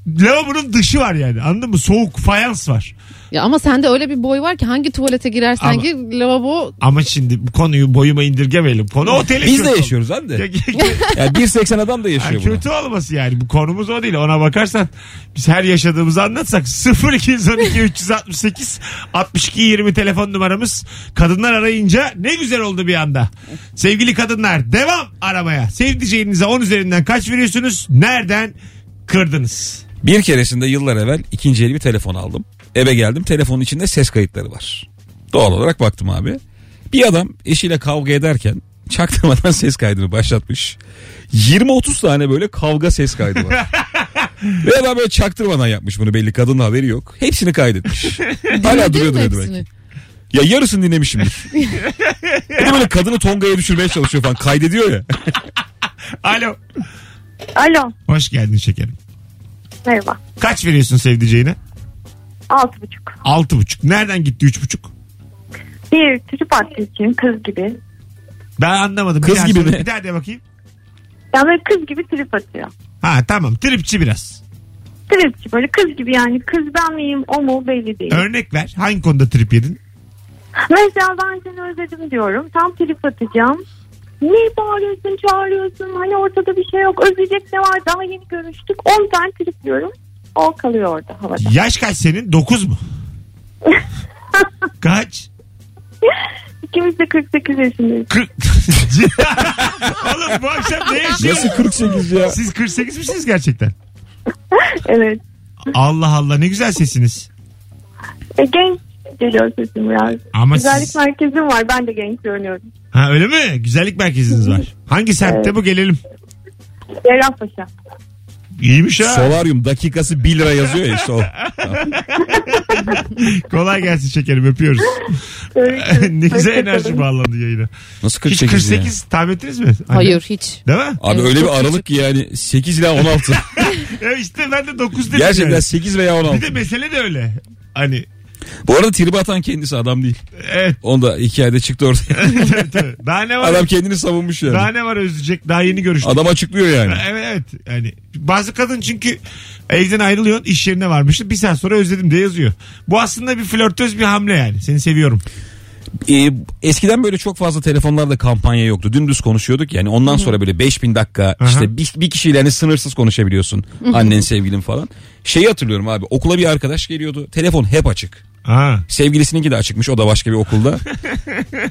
lavabonun dışı var yani anladın mı? Soğuk fayans var. Ya ama sende öyle bir boy var ki hangi tuvalete girersen Ama- gir lavabo Ama şimdi bu konuyu boyuma indirgemeyelim. Konu otele Biz de kötü- yaşıyoruz abi de. şey Ya- Yani 1.80 adam da ya yaşıyor bunu. kötü olması yani. Bu konumuz o değil. Ona bakarsan biz her yaşadığımızı anlatsak 0212 368 62 20 telefon numaramız. Kadınlar arayınca ne güzel oldu bir anda. Sevgili kadınlar devam aramaya. Sevdiceğinize 10 üzerinden kaç veriyorsunuz? Nereden kırdınız? Bir keresinde yıllar evvel ikinci el bir telefon aldım. Eve geldim telefonun içinde ses kayıtları var. Doğal olarak baktım abi. Bir adam eşiyle kavga ederken çaktırmadan ses kaydını başlatmış. 20-30 tane böyle kavga ses kaydı var. Ve adam böyle çaktırmadan yapmış bunu belli kadının haberi yok. Hepsini kaydetmiş. Hala Dinledin duruyordu mi ne hepsini? demek. Ya yarısını dinlemişimdir. Bir de böyle kadını Tonga'ya düşürmeye çalışıyor falan kaydediyor ya. Alo. Alo Hoş geldin şekerim. merhaba. Kaç veriyorsun sevdiceğine? Altı buçuk. Altı buçuk. Nereden gitti üç buçuk? Bir çocuk aklı için kız gibi. Ben anlamadım. Bir Kız daha gibi söyle. mi? Bir daha de bakayım. Ya böyle kız gibi trip atıyor. Ha tamam tripçi biraz. Tripçi böyle kız gibi yani kız ben miyim o mu belli değil. Örnek ver. Hangi konuda trip yedin? Mesela ben seni özledim diyorum. Tam trip atacağım. Niye bağırıyorsun, çağırıyorsun? Hani ortada bir şey yok. Özleyecek ne var? Daha yeni görüştük. 10 tane trip diyorum. O kalıyor orada havada. Yaş kaç senin? Dokuz mu? kaç? İkimiz de 48 yaşındayız. Kırk. Oğlum bu akşam ne yaşıyorsun? 48 ya? Siz 48 misiniz gerçekten? Evet. Allah Allah ne güzel sesiniz. E, genç geliyor sesim biraz. Ama Güzellik siz... merkezim var. Ben de genç görünüyorum. Ha öyle mi? Güzellik merkeziniz var. Hangi semtte bu gelelim? Cerrahpaşa. İyiymiş ha. Solaryum dakikası 1 lira yazıyor ya işte o. Kolay gelsin şekerim öpüyoruz. ne güzel enerji bağlandı yayına. Nasıl 48 Hiç ya? 48 tahmin ettiniz mi? Anne? hayır hiç. Değil mi? Abi Evet, öyle çok bir küçük. aralık ki yani 8 ila 16. Ya işte ben de 9 dedim. Gerçekten yani. 8 veya Bir 16. de mesele de öyle. Hani Bu arada tribe atan kendisi adam değil. evet Onda hikayede çıktı ortaya. tabii, tabii. daha ne var? adam kendini savunmuş daha yani. ne var özleyecek? Daha yeni görüştük. Adam açıklıyor yani. Evet evet. Yani bazı kadın çünkü evden ayrılıyorsun iş yerine varmışsın. Bir saat sonra özledim diye yazıyor. Bu aslında bir flörtöz bir hamle yani. Seni seviyorum. Ee, eskiden böyle çok fazla telefonlarda kampanya yoktu. Dümdüz konuşuyorduk yani. Ondan sonra böyle 5000 dakika Aha. işte bir, bir kişiyle hani sınırsız konuşabiliyorsun. Annen sevgilin falan. Şeyi hatırlıyorum abi. Okula bir arkadaş geliyordu. Telefon hep açık. Ha. Sevgilisininki de açıkmış o da başka bir okulda.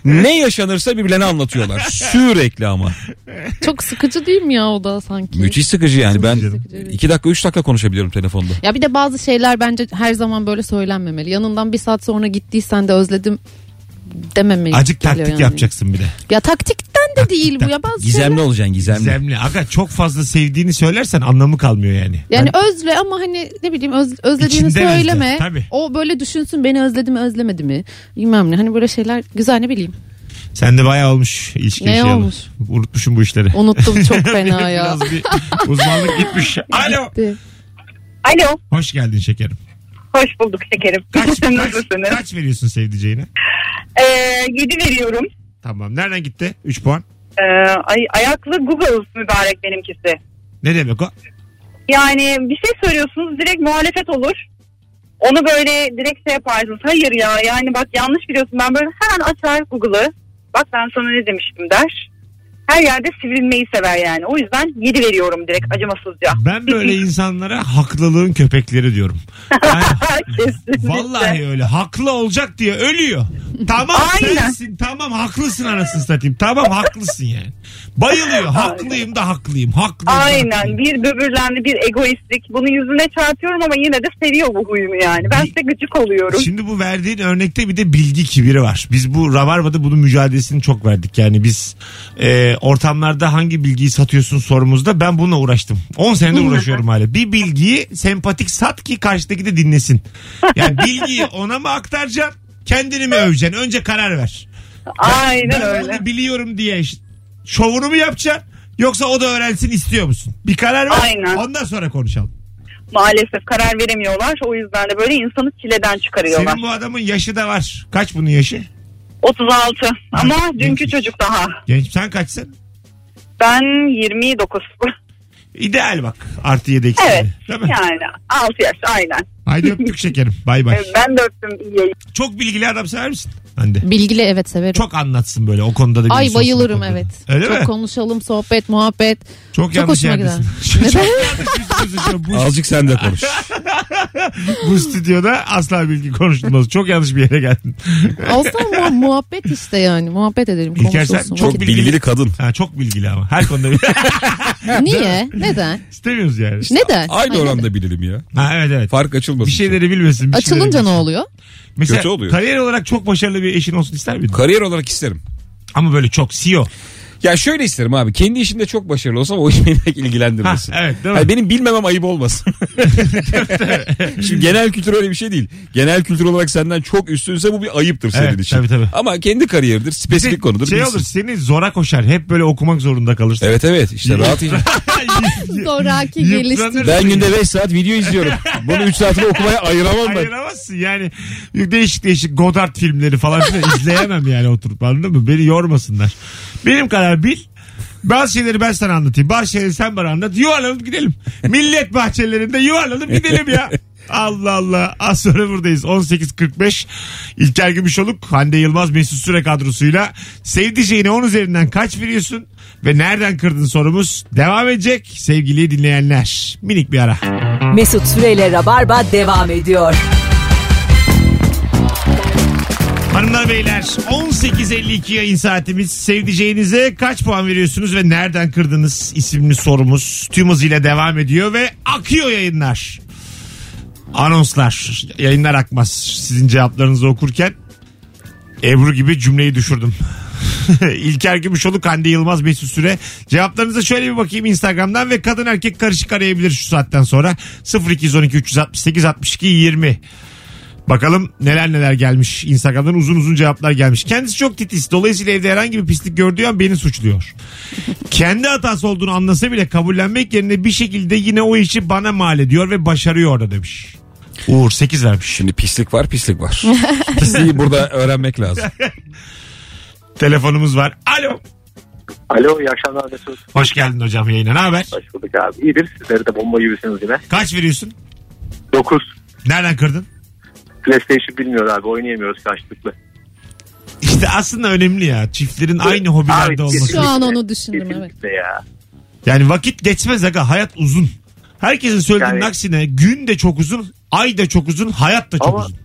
ne yaşanırsa birbirlerine anlatıyorlar. Sürekli ama. Çok sıkıcı değil mi ya o da sanki? Müthiş sıkıcı yani ben sıkıcı, evet. iki dakika üç dakika konuşabiliyorum telefonda. Ya bir de bazı şeyler bence her zaman böyle söylenmemeli. Yanından bir saat sonra gittiysen de özledim dememeli. Acık geliyor taktik yani. yapacaksın bir de. Ya taktikten de değil bu ya bazı şeyler. Gizemli olacaksın gizemli. Zemli. Aga çok fazla sevdiğini söylersen anlamı kalmıyor yani. şey- Yani özle ama hani ne bileyim öz- özlediğini İçinden özle, söyleme. tabii. O böyle düşünsün beni özledi mi özlemedi mi bilmem ne. Hani böyle şeyler güzel ne bileyim. Sen de bayağı olmuş ilişki Ne yaşayalı. olmuş? Unutmuşum bu işleri. Unuttum çok fena ya. Biraz bir uzmanlık gitmiş. Alo. Gitti. Alo. Hoş geldin şekerim. Hoş bulduk şekerim. Kaç, kaç, Nasılsınız? kaç veriyorsun sevdiceğine? Ee, 7 veriyorum. Tamam. Nereden gitti? 3 puan. Ee, ay- ayaklı Google mübarek benimkisi. Ne demek o? Yani bir şey söylüyorsunuz direkt muhalefet olur. Onu böyle direkt şey yaparsınız. Hayır ya yani bak yanlış biliyorsun. Ben böyle hemen açar Google'ı. Bak ben sana ne demiştim der. Her yerde sivrilmeyi sever yani. O yüzden 7 veriyorum direkt acımasızca. Ben böyle insanlara haklılığın köpekleri diyorum. Yani Kesinlikle. vallahi öyle. Haklı olacak diye ölüyor. Tamam Aynen. sensin. Tamam haklısın anasını satayım. Tamam haklısın yani. Bayılıyor. Haklıyım da haklıyım. Haklıyım da haklıyım. Aynen bir böbürlendi bir egoistlik. Bunu yüzüne çarpıyorum ama yine de seviyor bu huyumu yani. Ben size gıcık oluyorum. Şimdi bu verdiğin örnekte bir de bilgi kibiri var. Biz bu Rabarba'da bunun mücadelesini çok verdik. Yani biz e, ortamlarda hangi bilgiyi satıyorsun sorumuzda ben bununla uğraştım. 10 senedir uğraşıyorum hala. Bir bilgiyi sempatik sat ki karşıdaki de dinlesin. Yani bilgiyi ona mı aktaracaksın kendini mi öveceksin? Önce karar ver. Aynen ben öyle. bunu biliyorum diye ş- şovunu mu yapacaksın? Yoksa o da öğrensin istiyor musun? Bir karar ver. Aynen. Ondan sonra konuşalım. Maalesef karar veremiyorlar. O yüzden de böyle insanı çileden çıkarıyorlar. Senin bu adamın yaşı da var. Kaç bunun yaşı? 36 ama Ha, dünkü genç. çocuk daha. Genç sen kaçsın? Ben 29. İdeal bak. Artı yedi eksi evet yedi. Değil mi? yani 6 yaş aynen. Haydi öptük şekerim. Bay bay. Ben de öptüm iyi yayın. Çok bilgili adam sever misin? Hande. Bilgili evet severim. Çok anlatsın böyle o konuda da. bilgisi Ay olsun o bayılırım konuda da. evet. Öyle çok mi? konuşalım sohbet muhabbet. çok, çok yanlış hoşuma yerdesin. gider. çok Neden? yanlış yüzsüzsün. bu, Azıcık sen de konuş. bu stüdyoda asla bilgi konuşulmaz. Çok yanlış bir yere geldin. Aslında mu- muhabbet işte yani muhabbet edelim İlker sen konuşulsun. çok vakit- bilgili. Bilgili kadın. Ha, çok bilgili ama. Her konuda bir... Niye? Neden? istemiyoruz yani. Neden? Aynı Ay, neden? oranda bilelim ya. Ha, evet evet. Fark açılmasın. Bir şey şeyleri bilmesin. Bir şeyleri Açılınca ne bilsin. oluyor? Mesela Kötü oluyor. kariyer olarak çok başarılı bir eşin olsun ister miydin? Kariyer olarak isterim. Ama böyle çok E CEO. Ya şöyle isterim abi. Kendi işinde çok başarılı olsam o iş beni pek ilgilendirmesin. Ha, evet, değil mi? Hayır, benim bilmemem ayıp olmasın. Şimdi genel kültür öyle bir şey değil. Genel kültür olarak senden çok üstünse bu bir ayıptır senin Evet, için. tabii, tabii. Ama kendi kariyeridir. Spesifik konudur. Şey bilirsin. olur seni zora koşar. Hep böyle okumak zorunda kalırsın. Evet evet işte rahat iş. Zoraki Yıpranır. geliştir. Ben günde 5 saat video izliyorum. Bunu 3 saatini okumaya ayıramam ben. Ayıramazsın yani. Değişik değişik Godard filmleri falan filan izleyemem yani oturup anladın mı? Beni yormasınlar. Benim kadar bil. Bazı şeyleri ben sana anlatayım. Bazı şeyleri sen bana anlat. Yuvarlanıp gidelim. Millet bahçelerinde yuvarlanıp gidelim ya. Allah Allah. Az sonra buradayız. 18.45 İlker Gümüşoluk, Hande Yılmaz, Mesut Süre kadrosuyla sevdiceğine 10 üzerinden kaç veriyorsun ve nereden kırdın sorumuz devam edecek sevgili dinleyenler. Minik bir ara. Mesut Süreyle Rabarba devam ediyor. Hanımlar beyler 18.52 yayın saatimiz sevdiceğinize kaç puan veriyorsunuz ve nereden kırdınız isimli sorumuz tüm hızıyla devam ediyor ve akıyor yayınlar. Anonslar yayınlar akmaz sizin cevaplarınızı okurken Ebru gibi cümleyi düşürdüm. İlker Gümüşoluk, Hande Yılmaz, Mesut Süre. Cevaplarınıza şöyle bir bakayım Instagram'dan ve kadın erkek karışık arayabilir şu saatten sonra. 0212 368 62 20. Bakalım neler neler gelmiş. Instagram'dan uzun uzun cevaplar gelmiş. Kendisi çok titiz. Dolayısıyla evde herhangi bir pislik gördüğü an beni suçluyor. Kendi hatası olduğunu anlasa bile kabullenmek yerine bir şekilde yine o işi bana mal ediyor ve başarıyor orada demiş. Uğur 8 vermiş. Şimdi pislik var pislik var. Pisliği burada öğrenmek lazım. Telefonumuz var. Alo. Alo iyi akşamlar Mesut. Hoş geldin hocam yayına. Ne haber? Hoş bulduk abi. İyidir sizleri de bomba gibisiniz yine. Kaç veriyorsun? 9. Nereden kırdın? PlayStation bilmiyor abi oynayamıyoruz karşılıklı. İşte aslında önemli ya. Çiftlerin aynı Abi, hobilerde olması. kesinlikle. Şu an onu düşündüm evet. Kesinlikle ya. Yani vakit geçmez aga. Hayat uzun. Herkesin söylediğinin Yani- aksine gün de çok uzun, ay da çok uzun, hayat da çok Ama uzun.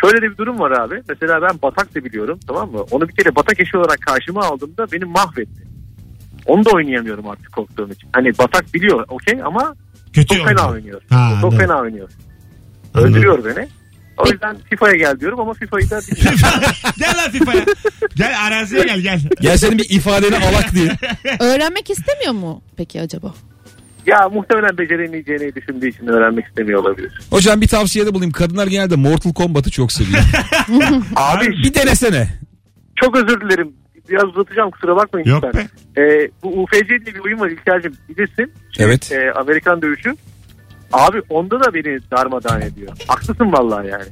Şöyle de bir durum var abi. Mesela ben batak da biliyorum tamam mı? Onu bir kere batak eşi olarak karşıma aldığımda beni mahvetti. Onu da oynayamıyorum artık korktuğum için. Hani batak biliyor okey ama Kötü çok fena oldu. oynuyor. Ha, çok anladım. fena oynuyor. Anladım. Öldürüyor beni. O yüzden FIFA'ya gel diyorum ama FIFA'yı da bilmiyorum. gel lan FIFA'ya. Gel araziye gel gel. Gel senin bir ifadeni alak diye. Öğrenmek istemiyor mu peki acaba? ya muhtemelen beceremeyeceğini düşündüğü için öğrenmek istemiyor olabilir. Hocam bir tavsiyede bulayım. Kadınlar genelde Mortal Kombat'ı çok seviyor. Abi bir denesene. çok özür dilerim. Biraz uzatacağım kusura bakmayın. Yok lütfen. be. Ee, bu UFC diye bir oyun var İlker'cim bilirsin. Evet. Ee, Amerikan dövüşü. Abi onda da beni darmadağın ediyor. Haklısın vallahi yani.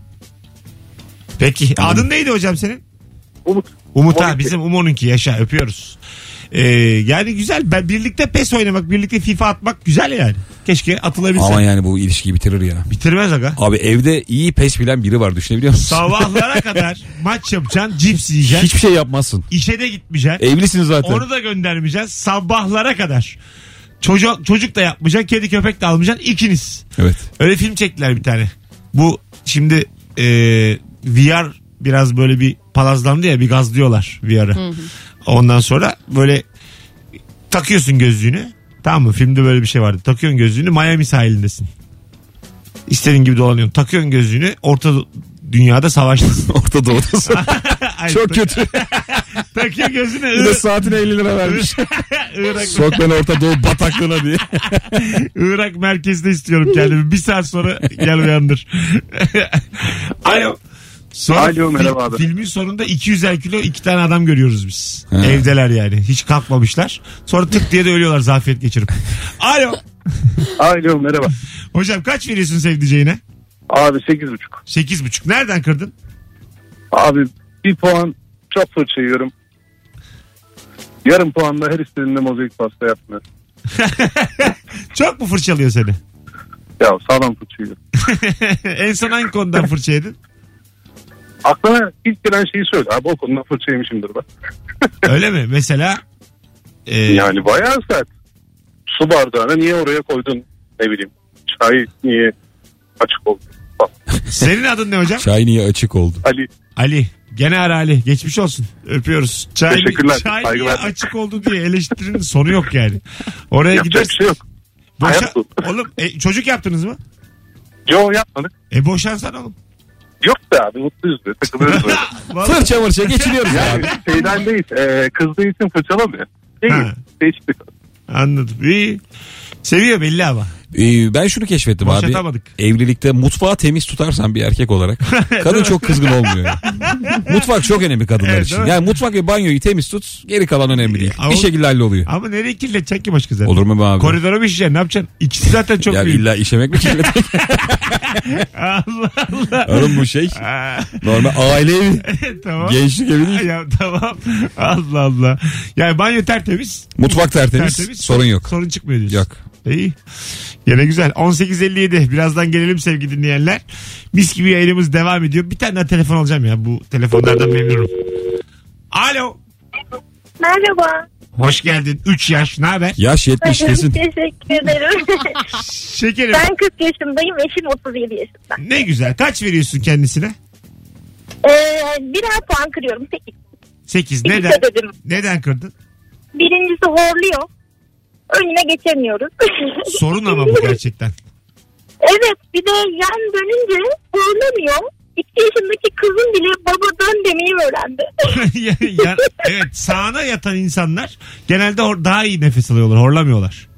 Peki. Adın neydi hocam senin? Umut. Umut ha Umut'un ki. bizim Umo'nunki yaşa öpüyoruz. Ee, yani güzel. Ben birlikte PES oynamak, birlikte FIFA atmak güzel yani. Keşke atılabilse. Ama yani bu ilişkiyi bitirir ya. Bitirmez aga. Abi evde iyi pes bilen biri var düşünebiliyor musun? Sabahlara kadar maç yapacaksın, cips yiyeceksin, Hiçbir şey yapmazsın. işe de gitmeyeceksin. Evlisin zaten. Onu da göndermeyeceksin sabahlara kadar. Çocuk, çocuk da yapmayacaksın, kedi köpek de almayacaksın ikiniz. Evet. Öyle film çektiler bir tane. Bu şimdi e, VR biraz böyle bir palazlandı ya bir gazlıyorlar VR'ı. Ondan sonra böyle takıyorsun gözlüğünü. Tamam mı? Filmde böyle bir şey vardı. Takıyorsun gözlüğünü Miami sahilindesin. İstediğin gibi dolanıyorsun. Takıyorsun gözlüğünü orta dünyada savaştasın. Orta Doğu'da. Ay, Çok tak- kötü. Takıyorsun gözlüğünü. Bir de Irak, saatine 50 lira vermiş. Irak, Sok beni Orta Doğu bataklığına diye. Irak merkezde istiyorum kendimi. Bir saat sonra gel uyandır. Alo. Sonra Alo, merhaba abi. Filmin sonunda 200'er kilo iki tane adam görüyoruz biz. Ha. Evdeler yani. Hiç kalkmamışlar. Sonra tık diye de ölüyorlar zafiyet geçirip. Alo. Alo merhaba. Hocam kaç veriyorsun sevdiceğine? Abi 8.5. 8,5. Nereden kırdın? Abi bir puan çok fırça yiyorum. Yarım puanla her istediğinde mozaik pasta yapmıyor. Çok mu fırçalıyor seni? Ya sağlam fırça yiyorum. en son hangi konudan fırça yedin? Aklına ilk gelen şeyi söyle. Abi o konuda fırça yemişimdir ben. Öyle mi? Mesela e, Yani bayağı sert. Su bardağını niye oraya koydun? Ne bileyim. Çay niye açık oldu? Bak, senin adın ne hocam? Çay niye açık oldu? Ali Ali. Gene ara Ali. Geçmiş olsun. Öpüyoruz. Çay, Teşekkürler. Çay niye Saygılar. açık oldu diye eleştirinin sonu yok yani. Oraya yapacak bir gidersin. şey yok. Boşa... hayat bu. Oğlum e, çocuk yaptınız mı? Yo yapmadık. E boşansan oğlum. Yok be abi mutluyuz be. Takılıyoruz böyle. Vallahi. Fırça mırça geçiniyoruz abi. Yani şeyden değil. E, kızdığı için fırçalamıyor. Ha. Değil. Değişti. Anladım. İyi. Seviyor belli ama. Ee, ben şunu keşfettim abi. Boşatamadık. Evlilikte mutfağı temiz tutarsan bir erkek olarak kadın çok kızgın olmuyor. Mutfak çok önemli kadınlar Evet, için. değil mi? Yani mutfak ve banyoyu temiz tut geri kalan önemli değil. Ama- bir şekilde halloluyor. Ama nereye kirletecek ki başka zaten? Olur mu be abi? Koridora mı işeceksin? Ne yapacaksın? İkisi zaten çok ya büyük. illa işemek mi kirletir? Allah Allah. Oğlum bu şey Aa, normal aile evi. tamam. Gençlik evi değil. Ya tamam. Allah Allah. Yani banyo tertemiz. Mutfak tertemiz, sorun yok. Sorun çıkmıyor diyorsun. Yok. İyi. Yine güzel. 18.57. Birazdan gelelim sevgili dinleyenler. Mis gibi yayınımız devam ediyor. Bir tane daha telefon alacağım ya. Bu telefonlardan memnunum. Alo. Merhaba. Hoş geldin. 3 yaş. Ne haber? Yaş yetmiş kesin. Teşekkür ederim. Şekerim. ben 40 yaşındayım. Eşim 37 yaşında. Ne güzel. Kaç veriyorsun kendisine? Ee, birer puan kırıyorum. Sekiz. 8. İkisi Neden? ödedim. Neden kırdın? Birincisi horluyor. Önüne geçemiyoruz. Sorun ama bu gerçekten. Evet bir de yan dönünce horlamıyor. 2 yaşındaki kızım bile baba dön demeyi öğrendi. Yani- yani- evet sağına yatan insanlar genelde hor- daha iyi nefes alıyorlar. Horlamıyorlar.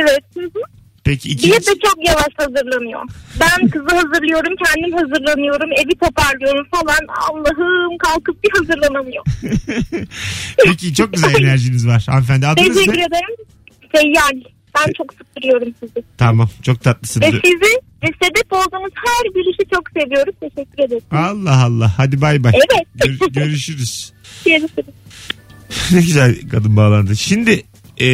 evet. hı hı. Peki Bir ikinci... de çok yavaş hazırlanıyor. Ben kızı hazırlıyorum, kendim hazırlanıyorum, evi toparlıyorum falan. Allah'ım kalkıp bir hazırlanamıyor. Peki çok güzel enerjiniz var hanımefendi. Adınız Teşekkür ne? ederim. Seyyal. Ben çok sıktırıyorum sizi. Tamam çok tatlısınız. Ve sizi ve sebep olduğunuz her bir işi çok seviyoruz. Teşekkür ederim. Allah Allah. Hadi bay bay. Evet. Gör- görüşürüz. Görüşürüz. ne güzel kadın bağlandı. Şimdi e,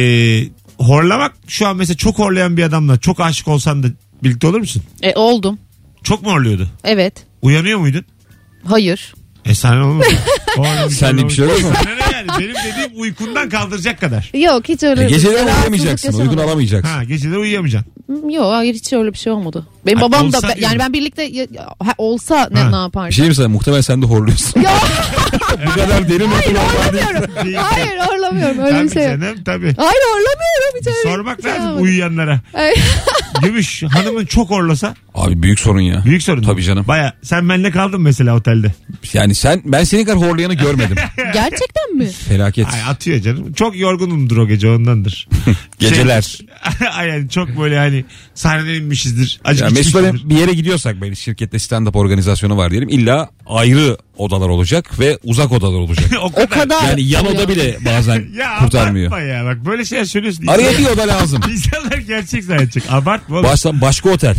horlamak şu an mesela çok horlayan bir adamla çok aşık olsan da birlikte olur musun? E oldum. Çok mu horluyordu? Evet. Uyanıyor muydun? Hayır. E sen olmadı. Horlamış, Senlik bir şey horlamış. yok mu? Sana ne yani? Benim dediğim uykundan kaldıracak kadar. Yok hiç öyle. E, Geceleri E, rahatsızlık uyuyamayacaksın. yaşamadım. Uygun alamayacaksın. Ha geceleri uyuyamayacaksın. Hmm, Yok hayır hiç öyle bir şey olmadı. Benim Ay, babam da olsa ben- diyorum. yani ben birlikte ya- ya- ha, olsa ne, Ha. ne Bir yapardım? şey diyeyim sana muhtemelen sen de horluyorsun. Ya Bu kadar derin horlamıyorum. şey Hayır horlamıyorum öyle tabii bir şey. yok. canım tabii. Hayır horlamıyorum hiç öyle. Sormak bir şey lazım yapmadım. uyuyanlara. Evet. Gümüş hanımın çok orlasa Abi büyük sorun ya. büyük sorun. Tabii canım. Baya sen benle kaldın mesela otelde. Yani sen ben senin kadar horlayanı görmedim. Gerçekten mi? Felaket. Ay atıyor canım. Çok yorgunumdur o gece ondandır. şey- Geceler. Ay yani çok böyle hani sahneden inmişizdir. Ya Acık Mesut içmişizdir. Bey'le bir yere gidiyorsak böyle şirkette stand-up organizasyonu var diyelim. İlla ayrı odalar olacak ve uzak odalar olacak. o kadar. O kadar. Yani yan oda bile bazen Ya abartma kurtarmıyor. ya bak böyle şeyler söylüyorsun. Araya bir oda lazım. İnsanlar gerçek zannedecek. Abartma oğlum. Başla, başka otel.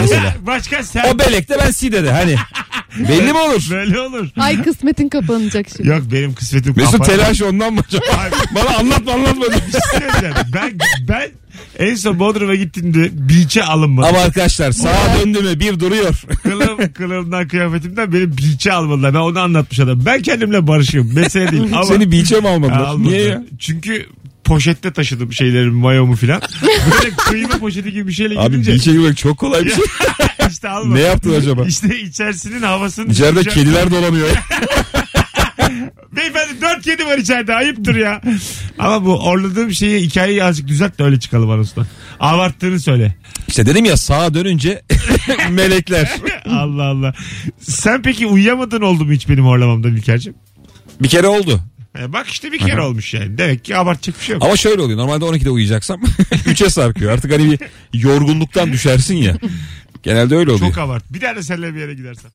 Mesela. Başka sen. O belekte ben Side'de hani. Belli mi olur? Böyle olur. Ay kısmetin kapanacak şimdi. Yok benim kısmetim Mesut kapandı. telaş ondan mı acaba? Ay, Bana anlatma anlatma. bir şey söyleyeceğim. ben, ben en son Bodrum'a gittiğimde beach'e alınmadım. Ama arkadaşlar sağa döndü mü bir duruyor. Kılım, kılımdan kıyafetimden beni beach'e almadılar. Ben onu anlatmış adam. Ben kendimle barışıyorum. Mesele değil. Ama Seni beach'e mi almadılar? Almadılar. Niye ya? Çünkü poşette taşıdım şeylerimi, mayomu filan. Böyle kıyma poşeti gibi bir şeyle Abi gidince beach'e girmek çok kolay bir şey. işte almadım. ne yaptın acaba? İşte içerisinin havasını... İçeride tutacağım. kediler dolanıyor. Beyefendi dört kedi var içeride ayıptır ya. Ama bu orladığım şeyi hikayeyi azıcık düzelt de öyle çıkalım anasından. Abarttığını söyle. İşte dedim ya sağa dönünce melekler. Allah Allah. Sen peki uyuyamadın oldu mu hiç benim orlamamda İlker'cim? Bir kere oldu. E Bak işte bir kere olmuş yani. Demek ki abartacak bir şey yok. Ama şöyle oluyor. Normalde 12'de uyuyacaksam 3'e sarkıyor. Artık hani bir yorgunluktan düşersin ya. Genelde öyle oluyor. Çok abart. Bir daha da seninle bir yere gidersen.